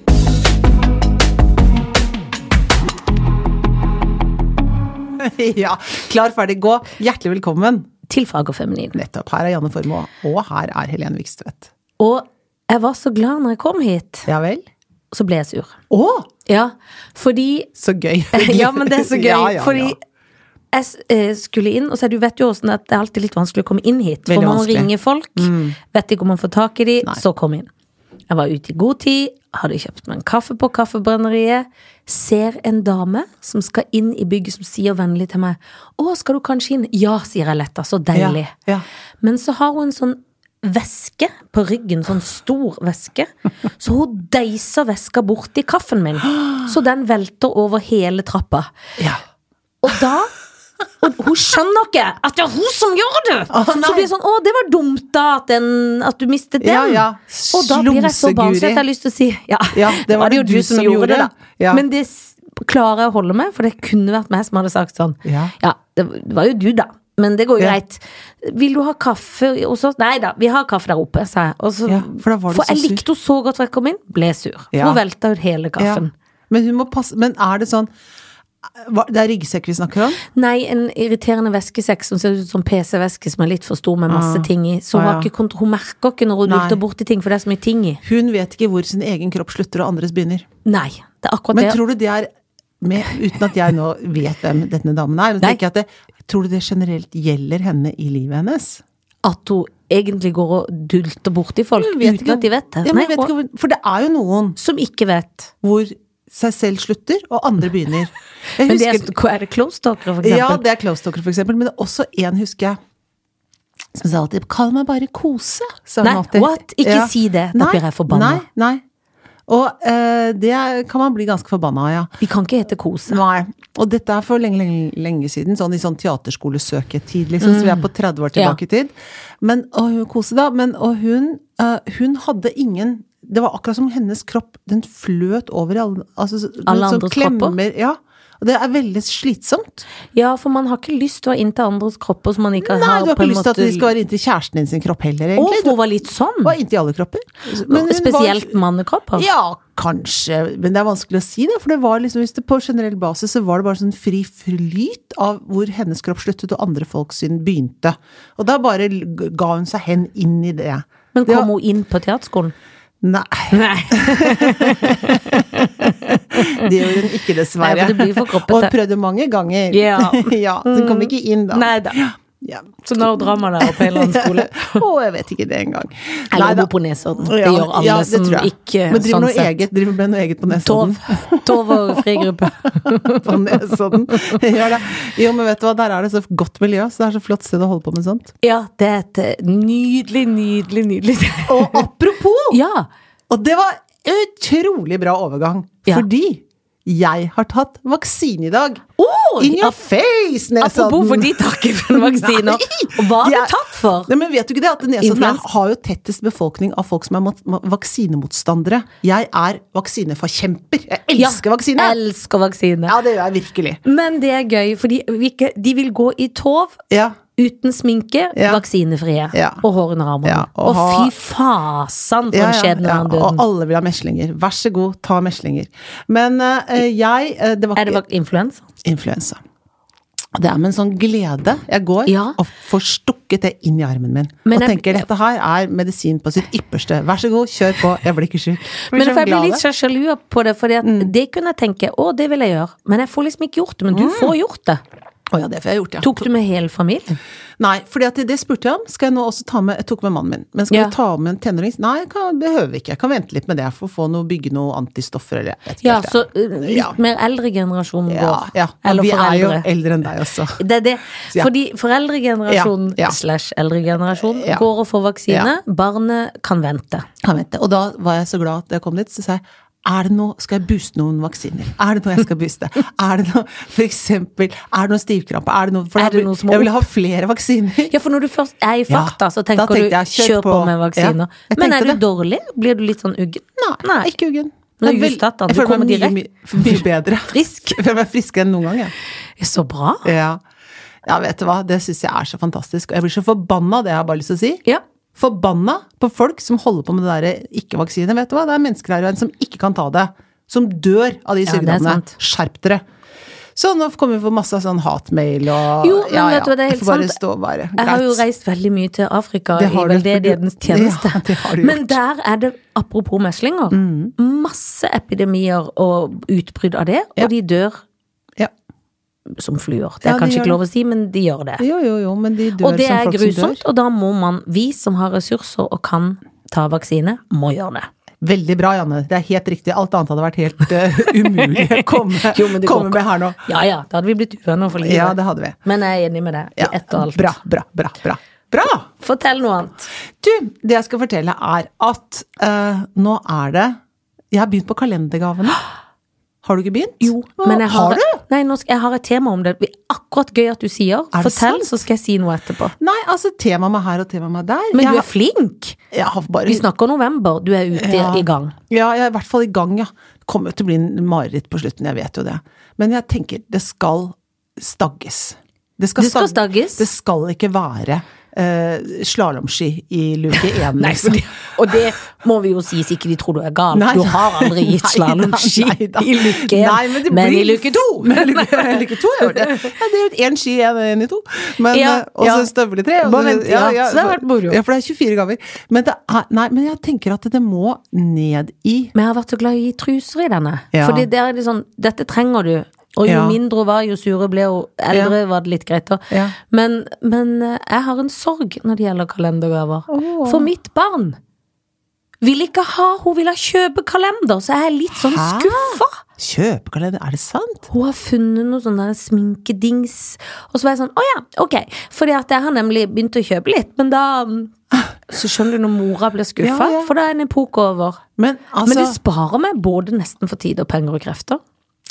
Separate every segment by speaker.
Speaker 1: ja. Klar, ferdig, gå. Hjertelig velkommen.
Speaker 2: til Fag og Feminin.
Speaker 1: Nettopp. Her er Janne Formoe, og her er Helene Vikstvedt.
Speaker 2: Og jeg var så glad når jeg kom hit,
Speaker 1: Ja vel?
Speaker 2: så ble jeg sur.
Speaker 1: Å,
Speaker 2: Ja, fordi
Speaker 1: så gøy.
Speaker 2: Ja, men det er så gøy,
Speaker 1: Ja, ja, ja.
Speaker 2: fordi jeg s- eh, skulle inn, og så er- du vet jo hvordan at det er alltid litt vanskelig å komme inn hit. For
Speaker 1: Veldig
Speaker 2: man må
Speaker 1: vanskelig. Mm.
Speaker 2: ringe folk, vet ikke om man får tak i de,
Speaker 1: Nei.
Speaker 2: så kom inn. Jeg var ute i god tid, hadde kjøpt meg en kaffe på Kaffebrenneriet. Ser en dame som skal inn i bygget, som sier vennlig til meg 'Å, skal du kanskje inn?' Ja, sier jeg letta. Så deilig.
Speaker 1: Ja, ja.
Speaker 2: Men så har hun en sånn veske på ryggen, sånn stor veske. Så hun deiser veska borti kaffen min, så den velter over hele trappa.
Speaker 1: Ja.
Speaker 2: Og da og hun skjønner ikke at det er hun som gjør det!
Speaker 1: Å, nei.
Speaker 2: så blir det sånn 'Å, det var dumt, da, at, den, at du mistet den'.
Speaker 1: Ja, ja.
Speaker 2: Og da blir jeg så
Speaker 1: Slumseguri.
Speaker 2: barnslig at jeg har lyst til å si ja,
Speaker 1: Ja, det var
Speaker 2: det jo du som, gjorde det, da.
Speaker 1: Ja.
Speaker 2: Men det s- klarer jeg å holde med, for det kunne vært meg som hadde sagt sånn.
Speaker 1: Ja.
Speaker 2: det var jo du, da. Men det går jo
Speaker 1: Ja.
Speaker 2: greit. Vil du ha kaffe hos oss? Nei da, vi har kaffe der oppe, sa jeg. Og så,
Speaker 1: Ja, for da var du så
Speaker 2: jeg
Speaker 1: sur.
Speaker 2: likte henne så godt da jeg kom inn, ble sur. For
Speaker 1: Ja.
Speaker 2: hun velta ut hele
Speaker 1: Ja.
Speaker 2: kaffen.
Speaker 1: Men hun må passe Men er det sånn hva- Det er ryggsekk vi snakker om?
Speaker 2: Nei, en irriterende veskesekk som ser ut som PC-veske som er litt for stor med masse
Speaker 1: Ah.
Speaker 2: ting i. Så hun,
Speaker 1: Ah,
Speaker 2: har
Speaker 1: ja.
Speaker 2: ikke kont- hun merker ikke når hun
Speaker 1: Nei.
Speaker 2: dulter borti ting, for det er så mye ting i.
Speaker 1: Hun vet ikke hvor sin egen kropp slutter og andres begynner.
Speaker 2: Nei, det er akkurat
Speaker 1: Men
Speaker 2: det.
Speaker 1: tror du det er med, Uten at jeg nå vet hvem denne damen er, men
Speaker 2: Nei.
Speaker 1: tenker jeg at det, tror du det generelt gjelder henne i livet hennes?
Speaker 2: At hun egentlig går og dulter borti folk
Speaker 1: Hun
Speaker 2: uten
Speaker 1: vet ikke-
Speaker 2: at de vet det.
Speaker 1: Ja, men
Speaker 2: Nei,
Speaker 1: jeg vet
Speaker 2: og-
Speaker 1: ikke, hvor- for det er jo noen
Speaker 2: Som ikke vet.
Speaker 1: hvor seg selv slutter, og andre begynner. Jeg
Speaker 2: Men det er,
Speaker 1: husker-
Speaker 2: er det close talkere, for
Speaker 1: Ja,
Speaker 2: eksempel?
Speaker 1: det er close talker, for eksempel. Men det er også en husker jeg som sa alltid 'kall meg bare kose'. sa hun
Speaker 2: Nei,
Speaker 1: alltid.
Speaker 2: what? Ikke si det. Da
Speaker 1: Nei,
Speaker 2: blir jeg forbanna.
Speaker 1: Nei, nei. Og eh, det er- kan man bli ganske forbanna av, ja.
Speaker 2: Vi kan ikke hete Kose.
Speaker 1: Nei. Og dette er for lenge, lenge, lenge siden, sånn i sånn teaterskolesøketid, liksom, så vi er
Speaker 2: Mm.
Speaker 1: på 30 år tilbake i tid. Men, og hun kose, da. Men, og hun, eh, hun hadde ingen Det var akkurat som hennes kropp, den fløt over i alle altså, så-
Speaker 2: Alle
Speaker 1: sånn
Speaker 2: andres kropper?
Speaker 1: klemmer, Ja. Og det er veldig slitsomt.
Speaker 2: Ja, for man har ikke lyst til å være inntil andres kropper som man ikke
Speaker 1: Nei,
Speaker 2: har
Speaker 1: du har
Speaker 2: på
Speaker 1: ikke
Speaker 2: en
Speaker 1: lyst til at
Speaker 2: måte-
Speaker 1: vi skal være inntil kjæresten din sin kropp heller,
Speaker 2: Å,
Speaker 1: egentlig.
Speaker 2: for hun var litt sånn?
Speaker 1: Du var inntil alle kropper. Men hun
Speaker 2: Spesielt mannekropper?
Speaker 1: Var, ja, kanskje. Men det er vanskelig å si det. For det var liksom, hvis det på generell basis så var det bare sånn fri flyt av hvor hennes kropp sluttet og andre folk sin begynte. Og da bare l- ga hun seg hen inn i det.
Speaker 2: Men
Speaker 1: Det
Speaker 2: kom
Speaker 1: var-
Speaker 2: hun inn på teaterskolen?
Speaker 1: Nei,
Speaker 2: Nei.
Speaker 1: det gjorde hun ikke, dessverre.
Speaker 2: Nei, for det blir for kroppete.
Speaker 1: Og prøvde mange ganger.
Speaker 2: Ja.
Speaker 1: ja så hun kom ikke inn da.
Speaker 2: Nei da.
Speaker 1: Ja.
Speaker 2: Så nå drar man der opp hele annen skole.
Speaker 1: Å, jeg vet ikke det engang.
Speaker 2: Eller
Speaker 1: Neida.
Speaker 2: bor på Nesodden. Det gjør alle
Speaker 1: det
Speaker 2: som
Speaker 1: tror jeg.
Speaker 2: ikke
Speaker 1: Men driver,
Speaker 2: sånn
Speaker 1: noe
Speaker 2: sett.
Speaker 1: eget, driver med noe eget på Nesodden.
Speaker 2: Tov. Tov og frigruppe.
Speaker 1: på Nesodden. Gjør det. Jo, men vet du hva, der er det så godt miljø, så det er så flott sted å holde på med sånt.
Speaker 2: Ja, det er et eh, nydelig, nydelig, nydelig sted.
Speaker 1: Og apropos!
Speaker 2: Ja.
Speaker 1: Og det var utrolig bra overgang,
Speaker 2: Ja.
Speaker 1: fordi jeg har tatt vaksine i dag.
Speaker 2: Oi,
Speaker 1: In your
Speaker 2: ap-
Speaker 1: face, Nesodden!
Speaker 2: Apropos for de takker for vaksiner.
Speaker 1: sånn. Nei!
Speaker 2: Hva har
Speaker 1: De
Speaker 2: du
Speaker 1: er-
Speaker 2: tatt for?
Speaker 1: Nei, men vet du ikke det at Nesodden er,
Speaker 2: Influensa.
Speaker 1: har jo tettest befolkning av folk som er mot- ma- vaksinemotstandere. Jeg er vaksineforkjemper. Jeg elsker
Speaker 2: Ja,
Speaker 1: vaksine!
Speaker 2: Elsker vaksine.
Speaker 1: Ja, det gjør jeg virkelig.
Speaker 2: Men det er gøy, fordi vi ikke- de vil gå i tov
Speaker 1: Ja.
Speaker 2: uten sminke,
Speaker 1: Ja.
Speaker 2: vaksinefrie.
Speaker 1: Ja.
Speaker 2: Og hår under armene.
Speaker 1: Ja, og
Speaker 2: og
Speaker 1: ha-
Speaker 2: fy fasan for
Speaker 1: Ja, ja,
Speaker 2: en skjebne
Speaker 1: ja,
Speaker 2: han
Speaker 1: og
Speaker 2: døden.
Speaker 1: alle vil ha meslinger. Vær så god, ta meslinger. Men eh, jeg eh, Det var
Speaker 2: Er det
Speaker 1: ikke
Speaker 2: vak- influensa?
Speaker 1: influensa. Det er med en sånn glede jeg går
Speaker 2: Ja.
Speaker 1: og får stukket det inn i armen min.
Speaker 2: Men
Speaker 1: og
Speaker 2: jeg-
Speaker 1: tenker dette her er medisin på sitt ypperste. Vær så god, kjør på, jeg blir ikke sjuk.
Speaker 2: Men
Speaker 1: så
Speaker 2: for jeg blir
Speaker 1: glad av Mm.
Speaker 2: litt så sjalu på det, for det kunne jeg tenke å, det vil jeg gjøre. Men jeg får liksom ikke gjort det. Men du
Speaker 1: Mm.
Speaker 2: får gjort det.
Speaker 1: det. Å ja, det får jeg gjort, ja.
Speaker 2: Tok du med hele familien?
Speaker 1: Nei, fordi at det spurte jeg om. Skal jeg nå også ta med Jeg tok med mannen min. Men skal
Speaker 2: Ja.
Speaker 1: vi ta med en tenåring? Nei, jeg kan, behøver ikke. Jeg kan vente litt med det for å få noe, bygge noe antistoffer eller jeg vet ikke
Speaker 2: Ja,
Speaker 1: helt, jeg.
Speaker 2: så eh, litt
Speaker 1: Ja.
Speaker 2: mer eldre generasjon
Speaker 1: ja,
Speaker 2: går.
Speaker 1: ja.
Speaker 2: Eller
Speaker 1: Vi er jo
Speaker 2: foreldre.
Speaker 1: eldre enn deg også.
Speaker 2: Det er det.
Speaker 1: Ja.
Speaker 2: Fordi foreldregenerasjonen
Speaker 1: Ja, ja.
Speaker 2: slash eldregenerasjon
Speaker 1: Ja.
Speaker 2: går og får vaksine. Barnet kan vente.
Speaker 1: Han vet det. Og da var jeg så glad at jeg kom dit, så sa jeg er det noe, skal jeg booste noen vaksiner? Er det noe jeg skal booste? Er det noe, for eksempel, er det noe stivkrampe? Er det noe, for
Speaker 2: Er
Speaker 1: jeg
Speaker 2: det
Speaker 1: vil-
Speaker 2: noe som må
Speaker 1: jeg vil ha flere vaksiner.
Speaker 2: Ja, for når du først er i
Speaker 1: Ja,
Speaker 2: farta, så
Speaker 1: da
Speaker 2: tenker du
Speaker 1: tenkte jeg,
Speaker 2: kjør,
Speaker 1: kjør
Speaker 2: på.
Speaker 1: på.
Speaker 2: med vaksiner.
Speaker 1: Ja, jeg
Speaker 2: Men
Speaker 1: tenkte
Speaker 2: er du
Speaker 1: det.
Speaker 2: dårlig? Blir du litt sånn uggen?
Speaker 1: Nei, ikke uggen. Jeg
Speaker 2: Men du er
Speaker 1: vel-
Speaker 2: justat, da.
Speaker 1: Jeg
Speaker 2: Du
Speaker 1: føler meg
Speaker 2: kommer
Speaker 1: mye,
Speaker 2: direkte.
Speaker 1: mye, mye bedre.
Speaker 2: Frisk.
Speaker 1: Jeg føler meg friskere enn noen gang, jeg.
Speaker 2: Så bra.
Speaker 1: Ja. ja, vet du hva, det syns jeg er så fantastisk. Og jeg blir så forbanna, det har jeg bare lyst til å si.
Speaker 2: Ja.
Speaker 1: Forbanna på folk som holder på med det derre ikke-vaksine. Vet du hva, det er mennesker her i verden som ikke kan ta det. Som dør av de
Speaker 2: det er
Speaker 1: sykdommene.
Speaker 2: sant.
Speaker 1: Skjerp dere. Så nå kommer vi få masse sånn hatmail og
Speaker 2: Jo, men vet du hva, det er helt
Speaker 1: får bare
Speaker 2: sant.
Speaker 1: Stå, bare.
Speaker 2: Jeg har jo
Speaker 1: Greit.
Speaker 2: reist veldig mye til Afrika
Speaker 1: Det
Speaker 2: i
Speaker 1: har du, for du-
Speaker 2: veldedighetens tjeneste.
Speaker 1: Ja, det har du
Speaker 2: Men
Speaker 1: gjort. Mm.
Speaker 2: der er det, apropos meslinger, masse epidemier og utbrudd av det, og
Speaker 1: Ja.
Speaker 2: de dør
Speaker 1: Ja.
Speaker 2: som fluer. Det
Speaker 1: Ja,
Speaker 2: er
Speaker 1: de
Speaker 2: kanskje
Speaker 1: gjør
Speaker 2: ikke lov å si, men de gjør det.
Speaker 1: Jo, jo, jo, men de dør
Speaker 2: og det
Speaker 1: som
Speaker 2: er
Speaker 1: folk som
Speaker 2: grusomt,
Speaker 1: dør.
Speaker 2: og da må man, vi som har ressurser og kan ta vaksine, må gjøre det.
Speaker 1: Veldig bra, Janne. Det er helt riktig. Alt annet hadde vært helt eh, umulig å komme,
Speaker 2: Jo, men det går
Speaker 1: komme
Speaker 2: ikke.
Speaker 1: med her nå.
Speaker 2: Ja ja, da hadde vi blitt uvenner for livet.
Speaker 1: Ja, det hadde vi.
Speaker 2: Men jeg er enig med deg. i
Speaker 1: Ja.
Speaker 2: Ett og alt.
Speaker 1: Bra, bra, bra. bra. Bra!
Speaker 2: Fortell noe annet.
Speaker 1: Du, det jeg skal fortelle er at eh, nå er det Jeg har begynt på kalendergavene. Har du ikke begynt?
Speaker 2: Jo, men jeg har,
Speaker 1: har du?
Speaker 2: Nei, nå skal, jeg har et tema om det. Det er Akkurat gøy at du sier.
Speaker 1: Er det
Speaker 2: Fortell,
Speaker 1: sant?
Speaker 2: så skal jeg si noe etterpå.
Speaker 1: Nei, altså temaet meg her og temaet meg der.
Speaker 2: Men
Speaker 1: jeg,
Speaker 2: du er flink!
Speaker 1: har- jeg har bare
Speaker 2: Vi snakker november, du er ute
Speaker 1: Ja.
Speaker 2: i gang.
Speaker 1: Ja, jeg er i hvert fall i gang, ja. Det kommer jo til å bli en mareritt på slutten, jeg vet jo det. Men jeg tenker, det skal stagges.
Speaker 2: Det skal
Speaker 1: stag-
Speaker 2: stagges?
Speaker 1: Det skal ikke være uh, slalåmski i luke én,
Speaker 2: Nei,
Speaker 1: liksom.
Speaker 2: fordi- og det må vi jo si, så ikke de tror du er gal.
Speaker 1: Nei.
Speaker 2: Du har aldri gitt
Speaker 1: Nei da,
Speaker 2: slalåmski
Speaker 1: nei da.
Speaker 2: i luke én,
Speaker 1: Nei, men, det
Speaker 2: men
Speaker 1: blir
Speaker 2: i luke
Speaker 1: to! Men i luke, luke to har jeg gjort det. Ja, det er jo én ski, én i to. Men,
Speaker 2: Ja,
Speaker 1: eh, og så
Speaker 2: ja.
Speaker 1: støvletre. og
Speaker 2: Bare vent, ja. Så det har vært moro.
Speaker 1: Ja, for det er 24 gaver. Men, det er, nei, men jeg tenker at det må ned i
Speaker 2: Men jeg har vært så glad i å gi truser i denne.
Speaker 1: Ja.
Speaker 2: Fordi der er det sånn, dette trenger du. Og jo
Speaker 1: Ja.
Speaker 2: mindre hun var, jo sure ble hun. Eldre var det litt greit. da.
Speaker 1: Ja.
Speaker 2: Men, men eh, jeg har en sorg når det gjelder kalendergaver.
Speaker 1: Åh.
Speaker 2: For mitt barn vil ikke ha Hun vil ha kjøpekalender, så jeg er litt sånn
Speaker 1: Hæ?
Speaker 2: skuffa.
Speaker 1: kjøpekalender. Er det sant?
Speaker 2: Hun har funnet noe sånn der sminkedings. Og så var jeg sånn, å ja, ok. Fordi at jeg har nemlig begynt å kjøpe litt, men da mm, Så skjønner du når mora blir skuffa,
Speaker 1: Ja, ja.
Speaker 2: for da er en epoke over.
Speaker 1: Men altså
Speaker 2: Men det sparer meg både nesten for tid og penger og krefter.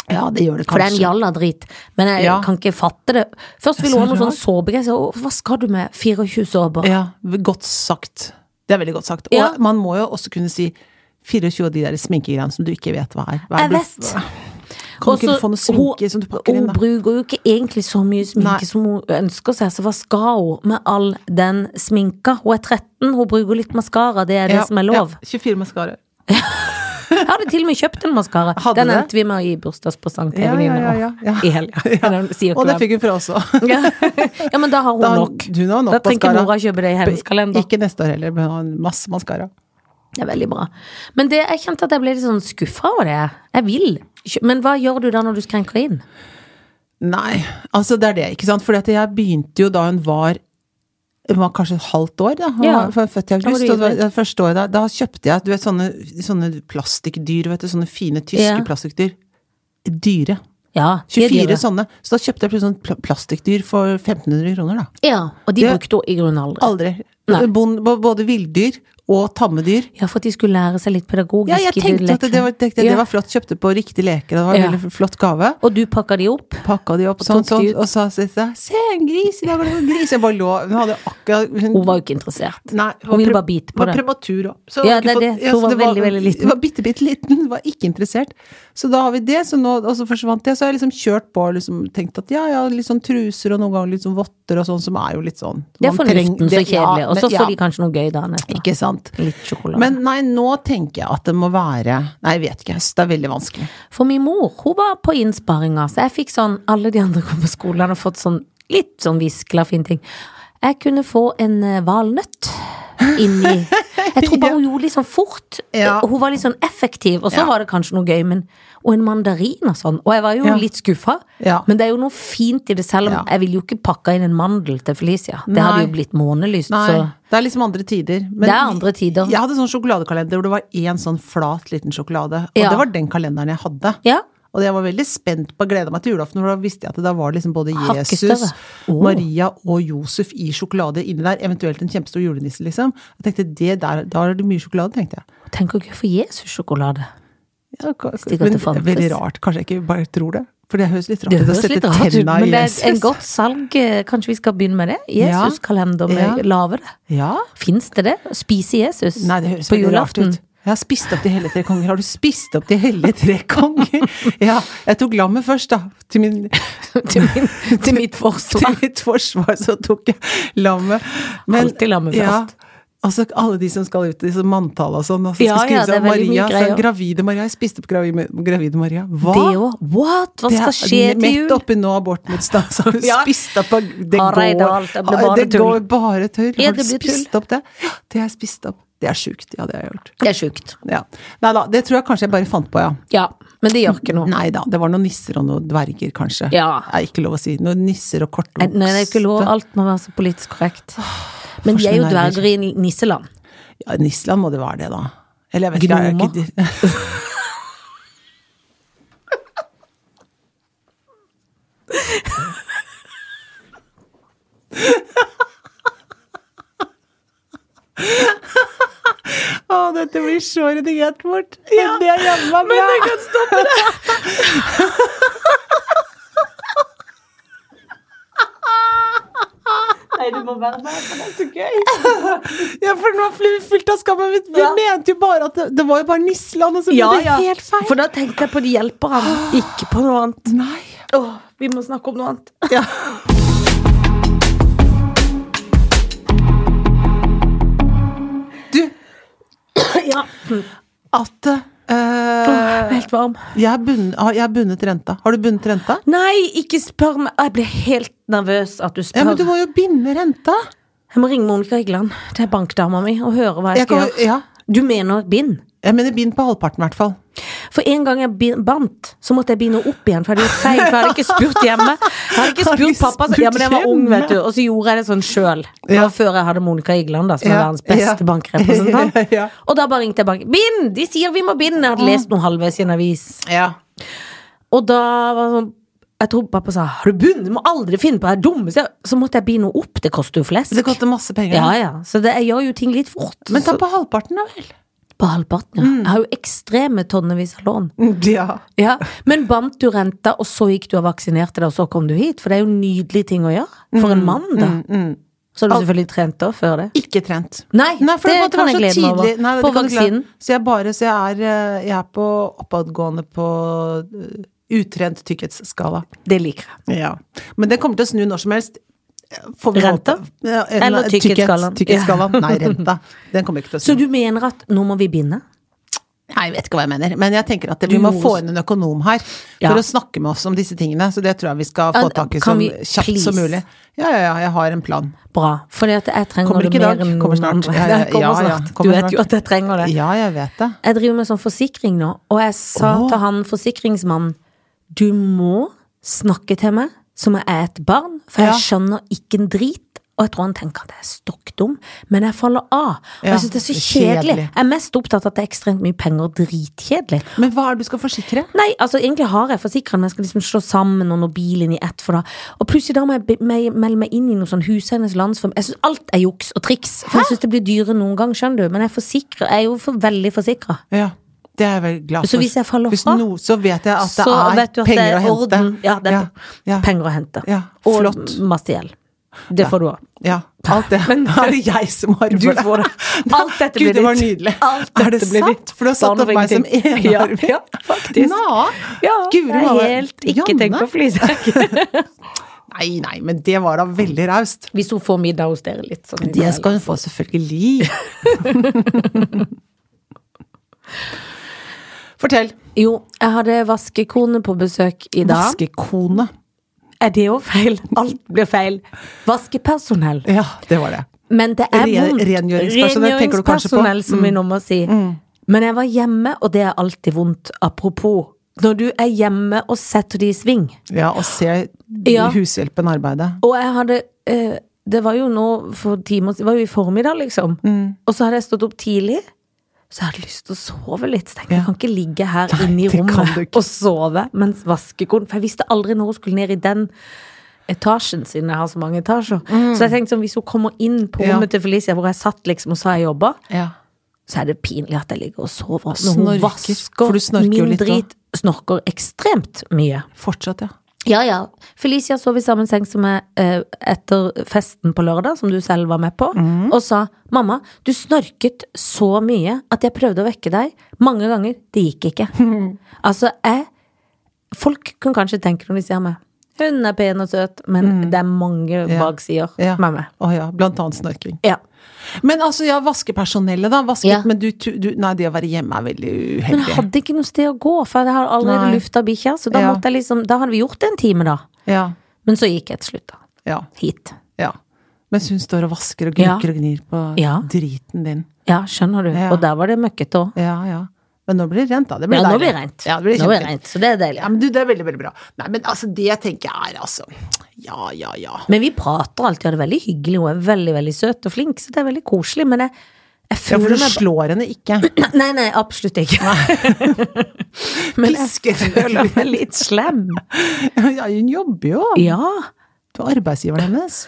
Speaker 1: Ja, det gjør det
Speaker 2: For det er en jalla drit. Men jeg
Speaker 1: Ja.
Speaker 2: kan ikke fatte det. Først
Speaker 1: Det er
Speaker 2: ville hun
Speaker 1: så
Speaker 2: ha noe sånn
Speaker 1: rart.
Speaker 2: såpegreier. så jeg sa, Hva skal du med 24 såper?
Speaker 1: Ja, godt sagt. Det er veldig godt sagt. Og
Speaker 2: Ja.
Speaker 1: man må jo også kunne si 24 av de der sminkegreiene som du ikke vet hva er. Hva er
Speaker 2: Jeg
Speaker 1: det
Speaker 2: vet.
Speaker 1: du- Kan ikke du få noe sminke som du pakker inn,
Speaker 2: Hun
Speaker 1: da?
Speaker 2: bruker jo ikke egentlig så mye sminke
Speaker 1: Nei.
Speaker 2: som hun ønsker seg, så hva skal hun med all den sminka? Hun er 13, hun bruker litt maskara, det er det
Speaker 1: Ja,
Speaker 2: som er lov.
Speaker 1: Ja, 24 maskaraer.
Speaker 2: Jeg hadde til og med kjøpt en maskara.
Speaker 1: Hadde
Speaker 2: Den
Speaker 1: det?
Speaker 2: endte vi med å gi bursdagspresang til
Speaker 1: Ja, ja,
Speaker 2: venninna
Speaker 1: ja, ja, ja.
Speaker 2: i helga. Den sier ikke
Speaker 1: Og det
Speaker 2: hvem.
Speaker 1: fikk hun fra oss òg.
Speaker 2: Ja. ja, men da har hun
Speaker 1: Da-
Speaker 2: nok.
Speaker 1: du har nok
Speaker 2: da trenger
Speaker 1: mascara.
Speaker 2: mora kjøpe det i hennes kalender.
Speaker 1: Ikke neste år heller, men hun har masse maskara.
Speaker 2: Det er veldig bra. Men det, jeg kjente at jeg ble litt sånn skuffa over det. Jeg vil. kjø- Men hva gjør du da når du skrenker inn?
Speaker 1: Nei, altså det er det, ikke sant. For jeg begynte jo da hun var hun var kanskje et halvt år, da. Hun
Speaker 2: Ja.
Speaker 1: var- for jeg er født i
Speaker 2: Da var
Speaker 1: august.
Speaker 2: du
Speaker 1: og det var
Speaker 2: ivrig.
Speaker 1: det første året da, da kjøpte jeg du vet, sånne, sånne plastikkdyr, vet du. Sånne fine tyske
Speaker 2: Ja.
Speaker 1: plastikkdyr. Dyre.
Speaker 2: Ja, de er
Speaker 1: 24
Speaker 2: dyre.
Speaker 1: sånne. Så da kjøpte jeg plutselig sånn pl- plastikkdyr for 1500 kroner, da.
Speaker 2: Ja, og de
Speaker 1: Det-
Speaker 2: brukte hun i grunnen aldri.
Speaker 1: Aldri.
Speaker 2: Nei.
Speaker 1: Bond, bo- både villdyr og tamme dyr.
Speaker 2: Ja, for at de skulle lære seg litt pedagogisk.
Speaker 1: Ja, jeg
Speaker 2: i
Speaker 1: tenkte at det
Speaker 2: lekene.
Speaker 1: var, tenkte, jeg,
Speaker 2: Ja.
Speaker 1: det var flott. Kjøpte på riktig leker, og det var en
Speaker 2: Ja.
Speaker 1: veldig flott gave.
Speaker 2: Og du pakka de opp?
Speaker 1: Pakka de opp sånn,
Speaker 2: tok
Speaker 1: sånn,
Speaker 2: de ut.
Speaker 1: og sa så, så, Se, en gris! I dag er det en gris! Jeg bare lå Hun hadde akkurat
Speaker 2: Hun var jo ikke interessert.
Speaker 1: Nei,
Speaker 2: Hun ville
Speaker 1: pre-
Speaker 2: bare bite på
Speaker 1: var
Speaker 2: det.
Speaker 1: prematur òg. Så
Speaker 2: Ja,
Speaker 1: hun
Speaker 2: det er
Speaker 1: hadde
Speaker 2: det.
Speaker 1: ikke fått-
Speaker 2: Hun var
Speaker 1: så det
Speaker 2: veldig, veldig liten.
Speaker 1: Var bitte, bitte liten. Var ikke interessert. Så da har vi det, så nå, og så forsvant det. Så har jeg liksom kjørt på og liksom tenkt at ja, ja, litt sånn truser og noen ganger litt sånn votter og sånn, som er jo litt sånn
Speaker 2: Det er
Speaker 1: man
Speaker 2: fornuften
Speaker 1: treng-
Speaker 2: så
Speaker 1: det-
Speaker 2: kjedelig.
Speaker 1: ja,
Speaker 2: Og så
Speaker 1: men-
Speaker 2: får de
Speaker 1: ja,
Speaker 2: kanskje noe gøy dagen etter.
Speaker 1: Ikke sant.
Speaker 2: Litt sjokolade.
Speaker 1: Men nei, nå tenker jeg at det må være Nei, jeg vet ikke. jeg synes Det er veldig vanskelig.
Speaker 2: For min mor, hun var på innsparinga, så jeg fikk sånn Alle de andre kom på skolen og hadde fått sånn litt sånn viskla fin ting. Jeg kunne få en eh, valnøtt inni Jeg tror bare hun gjorde litt sånn fort.
Speaker 1: Ja.
Speaker 2: Hun var litt sånn effektiv, og så
Speaker 1: Ja.
Speaker 2: var det kanskje noe gøy, men Og en mandarin og sånn. Og jeg var jo
Speaker 1: Ja.
Speaker 2: litt skuffa,
Speaker 1: Ja.
Speaker 2: men det er jo noe fint i det, selv om
Speaker 1: Ja.
Speaker 2: jeg ville jo ikke pakka inn en mandel til Felicia. Det
Speaker 1: Nei.
Speaker 2: hadde jo blitt månelyst,
Speaker 1: Nei,
Speaker 2: så
Speaker 1: det er liksom andre tider. Men
Speaker 2: Det er andre tider.
Speaker 1: Jeg hadde sånn sjokoladekalender hvor det var én sånn flat, liten sjokolade. Og
Speaker 2: Ja.
Speaker 1: det var den kalenderen jeg hadde.
Speaker 2: Ja.
Speaker 1: Og jeg var veldig spent på å glede meg til julaften, for da visste jeg at da var liksom både
Speaker 2: Hakket
Speaker 1: Jesus,
Speaker 2: større. Åh.
Speaker 1: Maria og Josef i sjokolade inni der, eventuelt en kjempestor julenisse, liksom. Jeg tenkte, det der, da er det mye sjokolade, tenkte jeg.
Speaker 2: Tenk å kunne få Jesus-sjokolade.
Speaker 1: Ja, ka-
Speaker 2: Stikk at
Speaker 1: men
Speaker 2: det fantes.
Speaker 1: veldig rart, kanskje jeg ikke bare tror det. For det høres litt rart
Speaker 2: Det
Speaker 1: ut å
Speaker 2: høres
Speaker 1: sette
Speaker 2: litt rart ut,
Speaker 1: tenna i
Speaker 2: men det
Speaker 1: Jesus.
Speaker 2: er en godt salg. eh, Kanskje vi skal begynne med det?
Speaker 1: Ja.
Speaker 2: Jesus-kalender med
Speaker 1: Ja.
Speaker 2: lave det.
Speaker 1: Ja?
Speaker 2: Fins det det? Spise Jesus
Speaker 1: Nei, det høres
Speaker 2: på
Speaker 1: veldig rart
Speaker 2: julaften?
Speaker 1: ut. Jeg har spist opp de hellige tre konger. Har du spist opp de hellige tre konger? Ja, jeg tok lammet først, da. Til min
Speaker 2: til, min, til mitt forsvar.
Speaker 1: til mitt forsvar så tok jeg lammet.
Speaker 2: Alltid lammet
Speaker 1: Ja,
Speaker 2: først.
Speaker 1: Altså, alle de som skal ut, disse manntallene og sånn. Altså,
Speaker 2: Ja,
Speaker 1: skal skrive
Speaker 2: ja, det
Speaker 1: seg
Speaker 2: er
Speaker 1: om
Speaker 2: veldig mye
Speaker 1: Maria,
Speaker 2: greier.
Speaker 1: så gravide Maria. Jeg spiste på gravide, gravide Maria. Hva?
Speaker 2: Det òg. What? Hva
Speaker 1: Det er
Speaker 2: skal skje til jul?
Speaker 1: Midt oppi nå abortmotstand, så har du
Speaker 2: Ja.
Speaker 1: spist opp av Det
Speaker 2: Hareide,
Speaker 1: går
Speaker 2: alt, det blir bare
Speaker 1: det
Speaker 2: tull.
Speaker 1: går bare tull.
Speaker 2: Ja,
Speaker 1: Har du
Speaker 2: det blir
Speaker 1: spist opp det? Ja, det har jeg spist opp. Det er sjukt. Ja, det har jeg gjort.
Speaker 2: Det er sjukt.
Speaker 1: Ja. Nei da, det tror jeg kanskje jeg bare fant på, ja.
Speaker 2: Ja. Men det gjør ikke noe.
Speaker 1: Nei da, det var noen nisser og noen dverger, kanskje.
Speaker 2: Ja.
Speaker 1: Det er ikke lov å si. Noen nisser og
Speaker 2: Nei,
Speaker 1: kortvokste.
Speaker 2: det er ikke lov. Alt må være så politisk korrekt. Men de er jo
Speaker 1: forsvinner.
Speaker 2: dverger i nisseland.
Speaker 1: Ja, Nisland må det være det, da. Eller jeg vet ikke, jeg er ikke. de- Å, dette blir så redigert bort. Men det er jammen meg bra. Men det kan stoppe det.
Speaker 2: Nei, du må være med, for det er så gøy.
Speaker 1: Ja, for nå ble vi fylt av skam. men Vi, vi
Speaker 2: Ja.
Speaker 1: mente jo bare at det, det var jo bare Nisland, og så ble
Speaker 2: Ja,
Speaker 1: det
Speaker 2: ja.
Speaker 1: helt feil.
Speaker 2: For da tenkte jeg på de hjelperne, ikke på noe annet.
Speaker 1: Nei.
Speaker 2: Åh, vi må snakke om noe annet.
Speaker 1: Ja. Du,
Speaker 2: ja.
Speaker 1: at eh,
Speaker 2: Helt varm.
Speaker 1: jeg, er bundet, har- ah, jeg er bundet renta. Har du bundet renta?
Speaker 2: Nei, ikke spør meg. Jeg blir helt nervøs at du spør.
Speaker 1: Ja, men du må jo binde renta.
Speaker 2: Jeg må ringe Monica Higgeland, det er bankdama mi, og høre hva jeg,
Speaker 1: Jeg,
Speaker 2: skal
Speaker 1: kan,
Speaker 2: gjøre.
Speaker 1: ja,
Speaker 2: Du mener bind?
Speaker 1: jeg mener bind på halvparten, i hvert fall.
Speaker 2: For en gang jeg bi- bandt, så måtte jeg begynne opp igjen, for jeg hadde gjort feil. For jeg hadde ikke spurt hjemme. Jeg hadde ikke
Speaker 1: Har du
Speaker 2: spurt pappa, så, ja, men jeg var
Speaker 1: spurt
Speaker 2: ung, vet du.
Speaker 1: hjemme?
Speaker 2: Og så gjorde jeg det sånn sjøl. Det
Speaker 1: Ja.
Speaker 2: var før jeg hadde Monica Igland, da, som er
Speaker 1: Ja,
Speaker 2: verdens beste
Speaker 1: ja.
Speaker 2: bankrepresentant.
Speaker 1: Ja.
Speaker 2: Og da bare ringte jeg banken. Bind! De sier vi må binde! Jeg hadde lest noe halvveis i en avis.
Speaker 1: Ja.
Speaker 2: Og da var det sånn jeg tror pappa sa 'har du bundet, du må aldri finne på det her dumme'. Så, jeg- så måtte jeg binde noe opp, det koster jo flesk.
Speaker 1: Det koster masse penger.
Speaker 2: ja, ja. Så det, jeg gjør jo ting litt fort.
Speaker 1: Men ta
Speaker 2: så,
Speaker 1: på halvparten, da vel.
Speaker 2: på halvparten, ja. Jeg har jo ekstreme tonnevis av lån.
Speaker 1: Ja.
Speaker 2: Mm, Ja, Men bandt du renta, og så gikk du og vaksinerte deg, og så kom du hit? For det er jo nydelige ting å gjøre. For
Speaker 1: Mm.
Speaker 2: en mann, da. Så har du selvfølgelig trent da før det.
Speaker 1: Ikke trent.
Speaker 2: Nei,
Speaker 1: for
Speaker 2: det
Speaker 1: måtte
Speaker 2: kan
Speaker 1: være
Speaker 2: jeg
Speaker 1: så
Speaker 2: glede meg over.
Speaker 1: tidlig. Nei, det
Speaker 2: På
Speaker 1: kan du glede-
Speaker 2: vaksinen.
Speaker 1: Så jeg bare Så jeg er, eh, jeg er på oppadgående på eh, utrent tykkhetsskala.
Speaker 2: Det liker jeg.
Speaker 1: Ja. Men det kommer til å snu når som helst. Får vi
Speaker 2: Renta?
Speaker 1: håpe. Ja, en-
Speaker 2: Eller
Speaker 1: tykkhet-
Speaker 2: tykkhetsskalaen.
Speaker 1: Tykkhetsskalaen. Nei, renta. Den kommer ikke til å
Speaker 2: Så
Speaker 1: snu.
Speaker 2: du mener at nå må vi binde?
Speaker 1: Nei, jeg vet ikke hva jeg mener. Men jeg tenker at vi må
Speaker 2: må-
Speaker 1: få inn en økonom her for
Speaker 2: Ja.
Speaker 1: å snakke med oss om disse tingene. Så det tror jeg vi skal
Speaker 2: Ja,
Speaker 1: få tak i
Speaker 2: kan
Speaker 1: så
Speaker 2: vi-
Speaker 1: kjapt som
Speaker 2: please.
Speaker 1: mulig. Ja, ja, ja. Jeg har en plan.
Speaker 2: Bra. For jeg trenger
Speaker 1: Kommer
Speaker 2: det
Speaker 1: ikke i
Speaker 2: mer
Speaker 1: dag,
Speaker 2: enn
Speaker 1: kommer
Speaker 2: noen
Speaker 1: snart.
Speaker 2: andre.
Speaker 1: Ja, ja,
Speaker 2: Det kommer
Speaker 1: ja, ja,
Speaker 2: snart.
Speaker 1: kommer
Speaker 2: du vet
Speaker 1: snart.
Speaker 2: jo at jeg trenger det.
Speaker 1: Ja, jeg vet det.
Speaker 2: Jeg driver med sånn forsikring nå, og jeg sa
Speaker 1: Åh.
Speaker 2: til han forsikringsmannen Du må snakke til meg som jeg er et barn, for
Speaker 1: Ja.
Speaker 2: jeg skjønner ikke en drit. Og jeg tror han tenker at jeg er stokk dum, men jeg faller av. Og
Speaker 1: Ja,
Speaker 2: jeg synes det er så
Speaker 1: det er
Speaker 2: kjedelig.
Speaker 1: kjedelig.
Speaker 2: Jeg er mest opptatt av at det er ekstremt mye penger og dritkjedelig.
Speaker 1: Men hva er det du skal forsikre?
Speaker 2: Nei, altså egentlig har jeg forsikret, men jeg skal liksom slå sammen og nå bilen i ett for da Og plutselig da må jeg be- meg- melde meg inn i noe sånn Huseiernes landsform. Jeg syns alt er juks og triks. For jeg syns det blir dyrere noen gang, skjønner du. Men jeg forsikrer, jeg er jo for, veldig forsikra.
Speaker 1: Ja, det er jeg vel glad for.
Speaker 2: Så hvis jeg faller
Speaker 1: Hvis
Speaker 2: fra,
Speaker 1: noe, så vet jeg at det
Speaker 2: så
Speaker 1: er
Speaker 2: vet du at det
Speaker 1: penger
Speaker 2: er
Speaker 1: å hente.
Speaker 2: orden. Ja, det er
Speaker 1: ja,
Speaker 2: Penger å hente.
Speaker 1: Ja,
Speaker 2: og
Speaker 1: flott.
Speaker 2: masse gjeld. Det får du òg.
Speaker 1: ja. Alt det.
Speaker 2: Men-
Speaker 1: Men er det jeg som arver
Speaker 2: Du får det. Alt dette blir
Speaker 1: Gud, det var
Speaker 2: ditt.
Speaker 1: nydelig.
Speaker 2: Alt
Speaker 1: er det
Speaker 2: dette blir
Speaker 1: sant?
Speaker 2: ditt.
Speaker 1: For du har satt
Speaker 2: Barn
Speaker 1: opp
Speaker 2: får
Speaker 1: meg som
Speaker 2: ingenting. Ja,
Speaker 1: enearving.
Speaker 2: ja, faktisk.
Speaker 1: Nå,
Speaker 2: Ja,
Speaker 1: Guri
Speaker 2: det er
Speaker 1: malla.
Speaker 2: helt ikke tenk
Speaker 1: Janne?
Speaker 2: på flisejakke.
Speaker 1: Nei, nei, men det var da veldig raust.
Speaker 2: Hvis hun får middag hos dere litt sånn i
Speaker 1: Det
Speaker 2: kveld.
Speaker 1: skal hun få, selvfølgelig. Fortell.
Speaker 2: Jo, jeg hadde vaskekone på besøk i dag.
Speaker 1: Vaskekone.
Speaker 2: Er det òg feil? Alt blir feil. Vaskepersonell.
Speaker 1: Ja, det var det.
Speaker 2: Men det er
Speaker 1: Ren-
Speaker 2: vondt.
Speaker 1: rengjøringspersonell tenker du kanskje på?
Speaker 2: Rengjøringspersonell, som vi nå må si. Men jeg var hjemme, og det er alltid vondt. Apropos, når du er hjemme og setter de i sving.
Speaker 1: Ja, å se
Speaker 2: Ja.
Speaker 1: hushjelpen arbeide.
Speaker 2: Og jeg hadde eh, Det var jo nå for timer siden, det var jo i formiddag, liksom.
Speaker 1: Mm.
Speaker 2: Og så hadde jeg stått opp tidlig. Så jeg hadde lyst til å sove litt. Så tenkte jeg, jeg kan ikke ligge her inne i
Speaker 1: det kan du
Speaker 2: rommet
Speaker 1: ikke.
Speaker 2: og sove mens vaskekonen For jeg visste aldri når hun skulle ned i den etasjen, siden jeg har så mange etasjer. Så jeg tenkte sånn, hvis hun kommer inn på
Speaker 1: Mm. Ja.
Speaker 2: rommet til Felicia, hvor jeg satt liksom og sa jeg jobba,
Speaker 1: Ja.
Speaker 2: så er det pinlig at jeg ligger og sover. Når hun
Speaker 1: Snorker, for du
Speaker 2: vasker
Speaker 1: snorker jo
Speaker 2: min
Speaker 1: litt da.
Speaker 2: drit. Snorker ekstremt mye.
Speaker 1: Fortsatt, ja.
Speaker 2: Ja, ja. Felicia sov i samme seng som meg eh, etter festen på lørdag, som du selv var med på,
Speaker 1: Mhm.
Speaker 2: og sa 'mamma, du snorket så mye at jeg prøvde å vekke deg mange ganger. Det gikk ikke'. Altså, jeg Folk kan kanskje tenke når de ser meg. Hun er pen og søt, men det er mange
Speaker 1: Mhm. Ja.
Speaker 2: baksider
Speaker 1: Ja.
Speaker 2: med meg.
Speaker 1: Å ja, blant annet snorking.
Speaker 2: Ja.
Speaker 1: Men altså, ja, vaskepersonellet, da. Vasket,
Speaker 2: Ja.
Speaker 1: men du, tu- du Nei, det å være hjemme er veldig
Speaker 2: Men
Speaker 1: uheldig.
Speaker 2: jeg hadde ikke noe sted å gå, for jeg hadde allerede
Speaker 1: Nei.
Speaker 2: lufta bikkja. Så da,
Speaker 1: Ja.
Speaker 2: måtte jeg liksom, da hadde vi gjort det en time, da.
Speaker 1: Ja,
Speaker 2: Men så gikk jeg til slutt, da.
Speaker 1: ja,
Speaker 2: Hit.
Speaker 1: ja. Mens hun står og vasker og
Speaker 2: Ja.
Speaker 1: gnukker og gnir på
Speaker 2: Ja.
Speaker 1: driten din.
Speaker 2: Ja, skjønner du.
Speaker 1: Ja.
Speaker 2: Og der var det møkkete òg.
Speaker 1: Ja, ja. Men nå blir det rent, da. Det blir
Speaker 2: Ja, nå
Speaker 1: deilig.
Speaker 2: blir det rent.
Speaker 1: Ja, det blir
Speaker 2: nå blir det
Speaker 1: kjempefint.
Speaker 2: rent, så det er deilig.
Speaker 1: Ja, men du, det er veldig, veldig bra. Nei, men altså, det tenker jeg er altså Ja, ja, ja.
Speaker 2: Men vi prater alltid, og det er veldig hyggelig. Hun er veldig veldig søt og flink, så det er veldig koselig. Men jeg, jeg
Speaker 1: Ja, for
Speaker 2: føler
Speaker 1: du
Speaker 2: meg
Speaker 1: slår henne ikke.
Speaker 2: Nei, Nei, nei, absolutt ikke. Men jeg
Speaker 1: Pisker
Speaker 2: føler meg litt slem.
Speaker 1: Ja, hun jobber jo.
Speaker 2: Ja.
Speaker 1: Du er arbeidsgiveren hennes.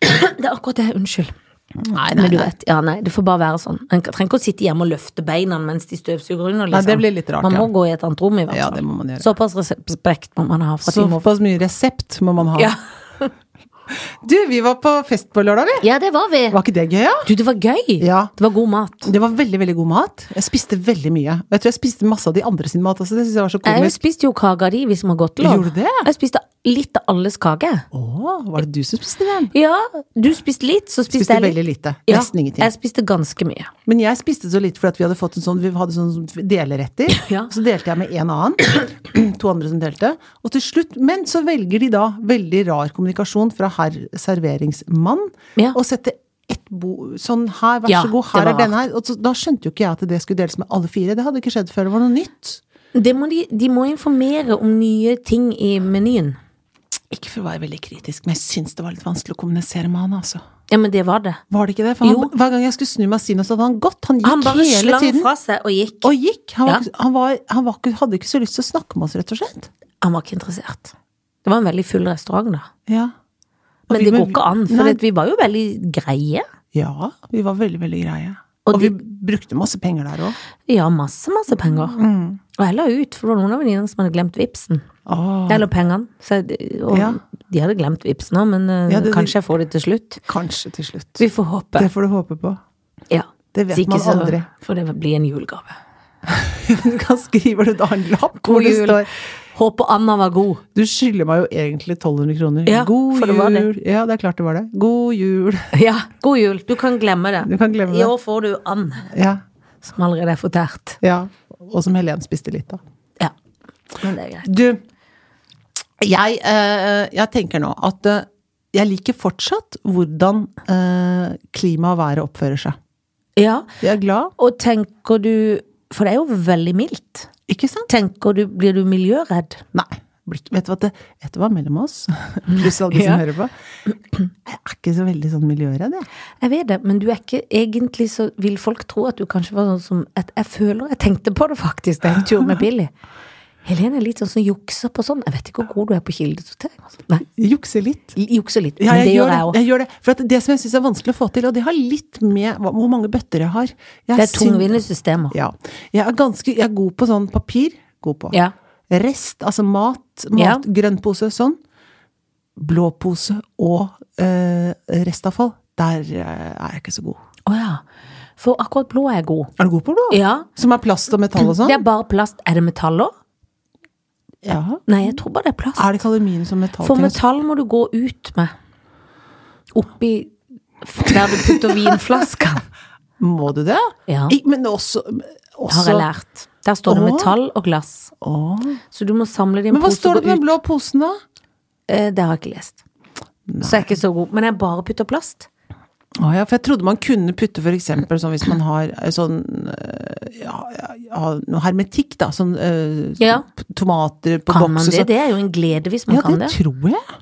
Speaker 2: Det er akkurat det. Unnskyld.
Speaker 1: Nei,
Speaker 2: Men du vet, ja nei, det får bare være sånn. En trenger ikke å sitte hjemme og løfte beina mens de støvsuger under. liksom.
Speaker 1: Nei, det blir litt rart,
Speaker 2: Man må
Speaker 1: ja.
Speaker 2: gå i et annet rom, i hvert fall.
Speaker 1: Ja, det må man gjøre.
Speaker 2: Såpass respekt må man ha for at vi må
Speaker 1: Såpass mye resept må man ha.
Speaker 2: ja.
Speaker 1: Du, vi var på fest på lørdag, vi.
Speaker 2: ja, det var vi.
Speaker 1: Var ikke det gøy, ja?
Speaker 2: Du, det var gøy.
Speaker 1: Ja.
Speaker 2: Det var god mat.
Speaker 1: Det var veldig veldig god mat. Jeg spiste veldig mye. Og jeg tror jeg spiste masse av de andre sin mat også. Det synes jeg var så
Speaker 2: Jeg
Speaker 1: komisk.
Speaker 2: spiste jo kaka di, hvis vi har gått lov.
Speaker 1: Gjorde du det?
Speaker 2: Jeg spiste litt av alles kake.
Speaker 1: Å, var det du som spiste den?
Speaker 2: Ja, du spiste litt, så spiste,
Speaker 1: Spiste
Speaker 2: jeg
Speaker 1: veldig
Speaker 2: litt.
Speaker 1: lite.
Speaker 2: Ja,
Speaker 1: Nesten ingenting.
Speaker 2: Jeg spiste ganske mye.
Speaker 1: Men jeg spiste så lite fordi at vi hadde fått en sånn, vi hadde sånn deleretter.
Speaker 2: Ja.
Speaker 1: Så delte jeg med en annen. To andre som delte. Og til slutt, men så velger de da veldig rar kommunikasjon fra herr serveringsmann.
Speaker 2: Ja.
Speaker 1: Og sette ett bo, sånn her, vær
Speaker 2: Ja,
Speaker 1: så god,
Speaker 2: det
Speaker 1: her
Speaker 2: var
Speaker 1: er denne her. Og så, da skjønte jo ikke jeg at det skulle deles med alle fire. Det hadde ikke skjedd før. Det var noe nytt.
Speaker 2: Det må de, de må informere om nye ting i menyen.
Speaker 1: Ikke for å være veldig kritisk, men jeg syns det var litt vanskelig å kommunisere med han, altså.
Speaker 2: Ja, men det var det.
Speaker 1: Var det ikke det? For
Speaker 2: Jo.
Speaker 1: han, hver gang jeg skulle snu meg og si noe, så hadde han gått. Han gikk
Speaker 2: Han bare
Speaker 1: hele
Speaker 2: slang
Speaker 1: tiden.
Speaker 2: fra seg og gikk.
Speaker 1: Og gikk. Han, var,
Speaker 2: Ja.
Speaker 1: han, var, han var, ikke- hadde ikke så lyst til å snakke med oss, rett og slett.
Speaker 2: Han var ikke interessert. Det var en veldig full restaurant, da.
Speaker 1: Ja. Og
Speaker 2: Men
Speaker 1: vi-
Speaker 2: det går
Speaker 1: vi-
Speaker 2: ikke an, for
Speaker 1: Nei.
Speaker 2: at vi var jo veldig greie.
Speaker 1: Ja, vi var veldig, veldig greie.
Speaker 2: Og
Speaker 1: Og,
Speaker 2: de-
Speaker 1: vi brukte masse penger der òg.
Speaker 2: Ja, masse, masse penger.
Speaker 1: Mm.
Speaker 2: Og jeg la ut, for det var noen av venninnene som hadde glemt vipsen. Eller pengene. Så, jeg- og
Speaker 1: Ja.
Speaker 2: de hadde glemt vipsen òg, men eh,
Speaker 1: Ja, det-
Speaker 2: kanskje jeg får det til slutt.
Speaker 1: Kanskje til slutt.
Speaker 2: Vi får håpe.
Speaker 1: Det får du håpe på.
Speaker 2: ja.
Speaker 1: Det vet
Speaker 2: Hvis
Speaker 1: man
Speaker 2: ikke så
Speaker 1: aldri.
Speaker 2: får det bli en julegave.
Speaker 1: Du kan skrive det da en lapp hvor
Speaker 2: God
Speaker 1: det
Speaker 2: jul.
Speaker 1: står
Speaker 2: Håper Anna var god.
Speaker 1: Du skylder meg jo egentlig 1200 kroner.
Speaker 2: Ja,
Speaker 1: God
Speaker 2: for det var det.
Speaker 1: jul. Ja, det er klart det var det. God jul.
Speaker 2: Ja, god jul. Du kan glemme det.
Speaker 1: Du kan glemme
Speaker 2: I
Speaker 1: det.
Speaker 2: år får du and,
Speaker 1: Ja.
Speaker 2: som allerede er fortært.
Speaker 1: ja. Og som Helen spiste litt av.
Speaker 2: Ja. Men det er greit.
Speaker 1: Du, jeg, eh, jeg tenker nå at eh, jeg liker fortsatt hvordan eh, klima og været oppfører seg.
Speaker 2: Ja,
Speaker 1: Jeg er glad,
Speaker 2: og tenker du For det er jo veldig mildt.
Speaker 1: ikke sant?
Speaker 2: Tenker du, blir du miljøredd?
Speaker 1: Nei. blir ikke- Vet du hva, det, vet du hva mellom oss, pluss alle de som
Speaker 2: Ja.
Speaker 1: hører på, jeg er ikke så veldig sånn miljøredd, jeg.
Speaker 2: Jeg vet det, men du er ikke egentlig så Vil folk tro at du kanskje var sånn som at Jeg føler jeg tenkte på det faktisk da jeg tur med Billy. Helene er litt sånn som jukser på sånn. Jeg vet ikke hvor god du er på kildesortering. altså. Nei,
Speaker 1: Jeg Jukser litt.
Speaker 2: jukser litt.
Speaker 1: Ja,
Speaker 2: men
Speaker 1: jeg,
Speaker 2: det
Speaker 1: gjør
Speaker 2: gjør jeg
Speaker 1: det.
Speaker 2: òg.
Speaker 1: jeg gjør det. For at det som jeg syns er vanskelig å få til, og det har litt med hva- hvor mange bøtter jeg har jeg
Speaker 2: Det er
Speaker 1: syn-
Speaker 2: tungvinte systemer.
Speaker 1: Ja. Jeg er ganske Jeg er god på sånn papir. God på.
Speaker 2: Ja.
Speaker 1: Rest, altså mat, mat grønnpose, sånn. Blå pose og eh, restavfall. Der eh, er jeg ikke så god.
Speaker 2: Å ja. For akkurat blå er jeg god.
Speaker 1: Er du god på blå?
Speaker 2: Ja.
Speaker 1: Som er plast og metall og sånn?
Speaker 2: Det er bare plast. Er det metall òg?
Speaker 1: Ja.
Speaker 2: Nei, jeg tror bare det er plast.
Speaker 1: Er Ah, det ikke aluminium som metall?
Speaker 2: For
Speaker 1: til oss?
Speaker 2: metall må du gå ut med. Oppi der du putter vinflaskene.
Speaker 1: Må du det?
Speaker 2: Ja.
Speaker 1: Ik men også, også
Speaker 2: Har jeg lært. Der står det
Speaker 1: Åh.
Speaker 2: metall og glass.
Speaker 1: Å.
Speaker 2: Så du må samle det i en
Speaker 1: Men hva
Speaker 2: pose
Speaker 1: står det
Speaker 2: og
Speaker 1: på
Speaker 2: gå
Speaker 1: den
Speaker 2: ut.
Speaker 1: blå posen, da?
Speaker 2: Eh, Det har jeg ikke lest. Så jeg er ikke så god. Men jeg bare putter plast.
Speaker 1: Å ja, for jeg trodde man kunne putte for eksempel sånn hvis man har eh, sånn eh, ja, ja, ja, noe hermetikk, da. Sånn eh,
Speaker 2: Ja.
Speaker 1: tomater på
Speaker 2: Kan man
Speaker 1: boks og
Speaker 2: det?
Speaker 1: sånn.
Speaker 2: Det er jo en glede hvis man
Speaker 1: Ja,
Speaker 2: kan
Speaker 1: det
Speaker 2: det.
Speaker 1: tror jeg.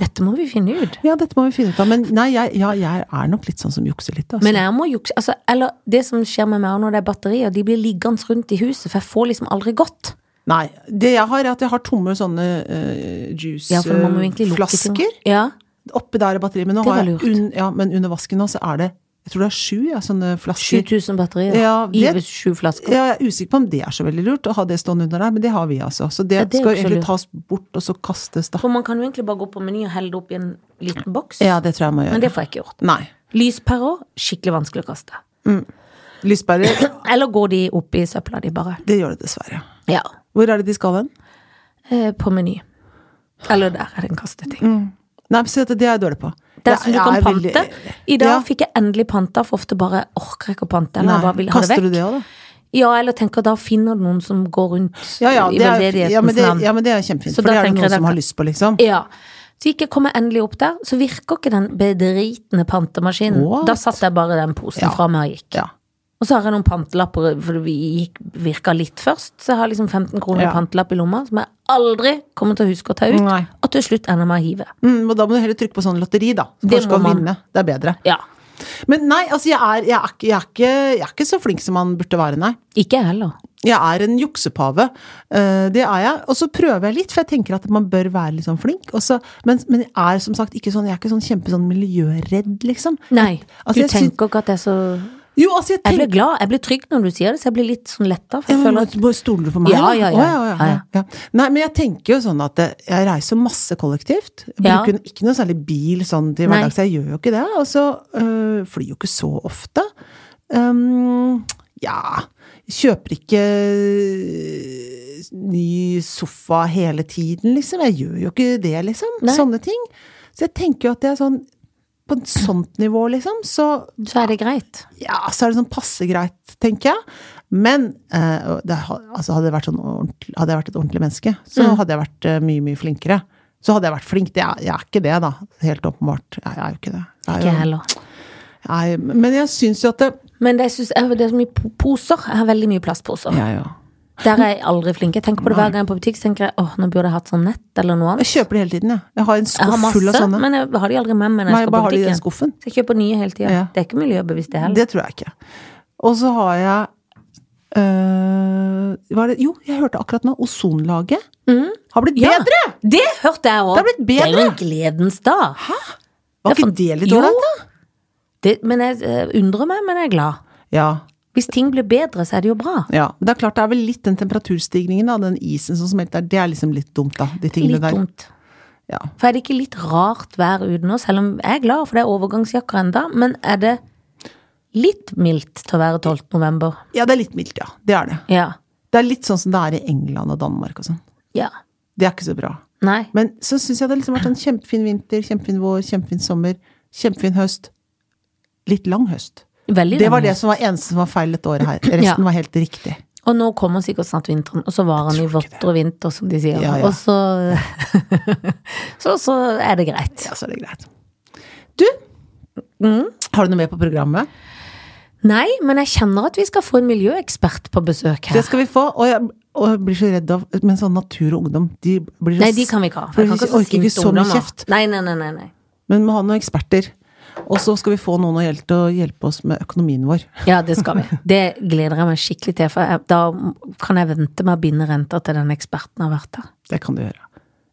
Speaker 2: Dette må vi finne ut.
Speaker 1: Ja, dette må vi finne ut av. Men nei, jeg, ja, jeg er nok litt sånn som jukser litt, altså.
Speaker 2: Men jeg må jukse altså, Eller det som skjer med meg også når det er batterier, de blir liggende rundt i huset, for jeg får liksom aldri gått.
Speaker 1: nei, det jeg har er at jeg har tomme sånne uh,
Speaker 2: Ja, for man må jo egentlig lukke ting.
Speaker 1: juiceflasker.
Speaker 2: Ja.
Speaker 1: Oppi der er batteriet, men nå
Speaker 2: Det var
Speaker 1: har jeg
Speaker 2: lurt.
Speaker 1: un, ja, men under vasken nå så er det Jeg tror det er sju ja, sånne flasker.
Speaker 2: 7000 batterier.
Speaker 1: Ja,
Speaker 2: I
Speaker 1: det-
Speaker 2: sju flasker.
Speaker 1: Ja, jeg er usikker på om det er så veldig lurt å ha det stående under der, men det har vi altså. Så det,
Speaker 2: Ja, det er
Speaker 1: skal jo
Speaker 2: også
Speaker 1: egentlig
Speaker 2: lurt.
Speaker 1: tas bort, og så kastes, da.
Speaker 2: For man kan jo egentlig bare gå på Meny og helle det opp i en liten boks.
Speaker 1: Ja, det tror jeg må gjøre.
Speaker 2: Men det får jeg ikke gjort.
Speaker 1: Nei.
Speaker 2: Lyspærer òg, skikkelig vanskelig å kaste.
Speaker 1: Lyspærer,
Speaker 2: Eller går de opp i søpla, de bare.
Speaker 1: det gjør det dessverre.
Speaker 2: Ja.
Speaker 1: Hvor er det de skal hen?
Speaker 2: Eh, på Meny. Eller der er det en kasteting.
Speaker 1: Nei, men se, dette, det er jeg dårlig på.
Speaker 2: der som du
Speaker 1: Mm. Ja,
Speaker 2: kan
Speaker 1: jeg er
Speaker 2: pante.
Speaker 1: veldig-
Speaker 2: I dag
Speaker 1: Ja.
Speaker 2: fikk jeg endelig panta, for ofte bare orker jeg ikke å pante. Eller jeg bare vil ha det
Speaker 1: Kaster
Speaker 2: vekk.
Speaker 1: du det òg, da?
Speaker 2: Ja, eller tenker da finner du noen som går rundt
Speaker 1: Ja, ja,
Speaker 2: i
Speaker 1: det er,
Speaker 2: veldedighetens
Speaker 1: ja, men det,
Speaker 2: navn.
Speaker 1: ja, men det er kjempefint.
Speaker 2: Så
Speaker 1: For
Speaker 2: da
Speaker 1: det er det noen
Speaker 2: tenker jeg
Speaker 1: som
Speaker 2: det-
Speaker 1: har lyst på, liksom.
Speaker 2: Ja. Så gikk jeg kom jeg endelig opp der, så virker ikke den bedritne pantemaskinen.
Speaker 1: What?
Speaker 2: Da satt jeg bare den posen
Speaker 1: Ja.
Speaker 2: fra meg og gikk.
Speaker 1: Ja.
Speaker 2: Og så har jeg noen pantelapper, for vi gikk, virka litt først, så jeg har liksom 15 kroner i
Speaker 1: Ja.
Speaker 2: pantelapp i lomma, som jeg aldri kommer til å huske å ta ut.
Speaker 1: Nei.
Speaker 2: Og til slutt ender jeg med å hive.
Speaker 1: Mm, og da må du heller trykke på sånn lotteri, da. Så
Speaker 2: Det
Speaker 1: kanskje
Speaker 2: må
Speaker 1: skal
Speaker 2: man.
Speaker 1: vinne. Det er bedre.
Speaker 2: Ja.
Speaker 1: Men nei, altså jeg er, jeg, er, ikke- jeg, er ikke, jeg er ikke så flink som man burde være, nei.
Speaker 2: Ikke jeg heller.
Speaker 1: Jeg er en juksepave. eh, Det er jeg. Og så prøver jeg litt, for jeg tenker at man bør være litt sånn flink. Og så, men, men jeg er som sagt ikke sånn, jeg er ikke sånn kjempesånn miljøredd, liksom.
Speaker 2: Nei.
Speaker 1: Altså,
Speaker 2: Du
Speaker 1: jeg syn-
Speaker 2: tenker ikke at det er så
Speaker 1: Jo, altså jeg
Speaker 2: Jeg blir
Speaker 1: tenker
Speaker 2: glad, jeg blir trygg når du sier det, så jeg blir litt sånn letta. For
Speaker 1: Ja,
Speaker 2: jeg
Speaker 1: men
Speaker 2: føler at
Speaker 1: nå Stoler du på meg?
Speaker 2: Ja,
Speaker 1: da?
Speaker 2: ja, ja.
Speaker 1: Å, ja, ja,
Speaker 2: Ja,
Speaker 1: ja, ja. Nei, men jeg tenker jo sånn at eh, jeg reiser masse kollektivt. Jeg
Speaker 2: Ja.
Speaker 1: bruker ikke noe særlig bil sånn til
Speaker 2: Nei.
Speaker 1: hverdags, jeg gjør jo ikke det. Og så øh, flyr jo ikke så ofte. Um, ja Kjøper ikke eh, ny sofa hele tiden, liksom. Jeg gjør jo ikke det, liksom.
Speaker 2: Nei.
Speaker 1: Sånne ting. Så jeg tenker jo at det er sånn På et sånt nivå, liksom, så
Speaker 2: så er det greit.
Speaker 1: ja, så er det sånn passe greit, tenker jeg. Men eh, og det, ha- altså hadde, det vært sånn ordentlig, hadde jeg vært et ordentlig menneske, så
Speaker 2: Mm.
Speaker 1: hadde jeg vært eh, mye, mye flinkere. Så hadde jeg vært flink. Det er, jeg er ikke det, da. Helt åpenbart. Jeg, jeg er jo ikke det. Jeg
Speaker 2: Ikke jeg
Speaker 1: er jo,
Speaker 2: heller.
Speaker 1: jeg, men jeg syns jo at det
Speaker 2: Men det, jeg synes, jeg, det er så mye po- poser. Jeg har veldig mye plastposer.
Speaker 1: ja, ja.
Speaker 2: Der er jeg aldri flink. Jeg tenker på det hver gang jeg er på butikk, så tenker jeg åh, nå burde jeg hatt sånn nett eller noe annet.
Speaker 1: Jeg kjøper det hele tiden, jeg. Jeg har en
Speaker 2: Jeg har
Speaker 1: skuff full av
Speaker 2: masse,
Speaker 1: sånne.
Speaker 2: men jeg har de aldri med meg
Speaker 1: Nei,
Speaker 2: når jeg
Speaker 1: jeg
Speaker 2: skal på
Speaker 1: bare har de i den
Speaker 2: butikken.
Speaker 1: skuffen.
Speaker 2: Så jeg kjøper nye hele tida.
Speaker 1: Ja.
Speaker 2: Det er ikke miljøbevisst, det heller.
Speaker 1: Det tror jeg ikke. Og så har jeg øh, hva er det? Jo, jeg hørte akkurat nå. Ozonlaget har blitt
Speaker 2: Mm. Ja.
Speaker 1: bedre!
Speaker 2: Det hørte jeg òg!
Speaker 1: Det har blitt bedre.
Speaker 2: er jo en gledens dag.
Speaker 1: Hæ? Var
Speaker 2: Det er
Speaker 1: ikke
Speaker 2: fan-
Speaker 1: det litt
Speaker 2: Jo.
Speaker 1: ålreit, da?
Speaker 2: Det, men jeg eh, undrer meg, men jeg er glad.
Speaker 1: Ja.
Speaker 2: Hvis ting blir bedre, så er det jo bra.
Speaker 1: Ja, men det er klart det er vel litt den temperaturstigningen da, den isen som smelter, det er liksom litt dumt da, de tingene
Speaker 2: Litt
Speaker 1: der.
Speaker 2: dumt.
Speaker 1: Ja.
Speaker 2: For er det ikke litt rart vær uten oss? Selv om jeg er glad, for det er overgangsjakker enda Men er det litt mildt til å være 12. november?
Speaker 1: ja, det er litt mildt, ja. Det er det.
Speaker 2: Ja.
Speaker 1: Det er litt sånn som det er i England og Danmark og sånn.
Speaker 2: Ja.
Speaker 1: Det er ikke så bra.
Speaker 2: Nei.
Speaker 1: Men så syns jeg det har liksom vært sånn kjempefin vinter, kjempefin vår, kjempefin sommer, kjempefin høst. Litt lang høst.
Speaker 2: Veldig
Speaker 1: Det var
Speaker 2: lang
Speaker 1: det
Speaker 2: høst.
Speaker 1: som var eneste som var feil dette året her. Resten
Speaker 2: Ja.
Speaker 1: var helt riktig.
Speaker 2: Og nå kommer sikkert snart vinteren, og så varer den i votter og vinter, som de sier.
Speaker 1: Ja, ja.
Speaker 2: Og så, så Så er det greit.
Speaker 1: Ja, så er det greit. Du,
Speaker 2: Mm.
Speaker 1: har du noe mer på programmet?
Speaker 2: Nei, men jeg kjenner at vi skal få en miljøekspert på besøk
Speaker 1: Det
Speaker 2: her.
Speaker 1: skal vi få. Og jeg, og jeg blir så redd av Men sånn natur og ungdom, de blir så
Speaker 2: Nei, de kan vi ikke ha. For jeg kan ikke ha
Speaker 1: orker ikke
Speaker 2: sinte
Speaker 1: så mye
Speaker 2: ungdommer.
Speaker 1: kjeft.
Speaker 2: Nei, nei, nei, nei, nei.
Speaker 1: Men vi må ha noen eksperter. Og så skal vi få noen å hjelpe, til å hjelpe oss med økonomien vår.
Speaker 2: Ja, det skal vi. Det gleder jeg meg skikkelig til, for jeg, da kan jeg vente med å binde renter til den eksperten har vært der.
Speaker 1: Det kan du gjøre.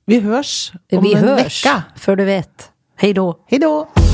Speaker 1: Vi hørs om
Speaker 2: Vi
Speaker 1: en
Speaker 2: høres
Speaker 1: uke.
Speaker 2: før du vet. Hei da.
Speaker 1: Hei da!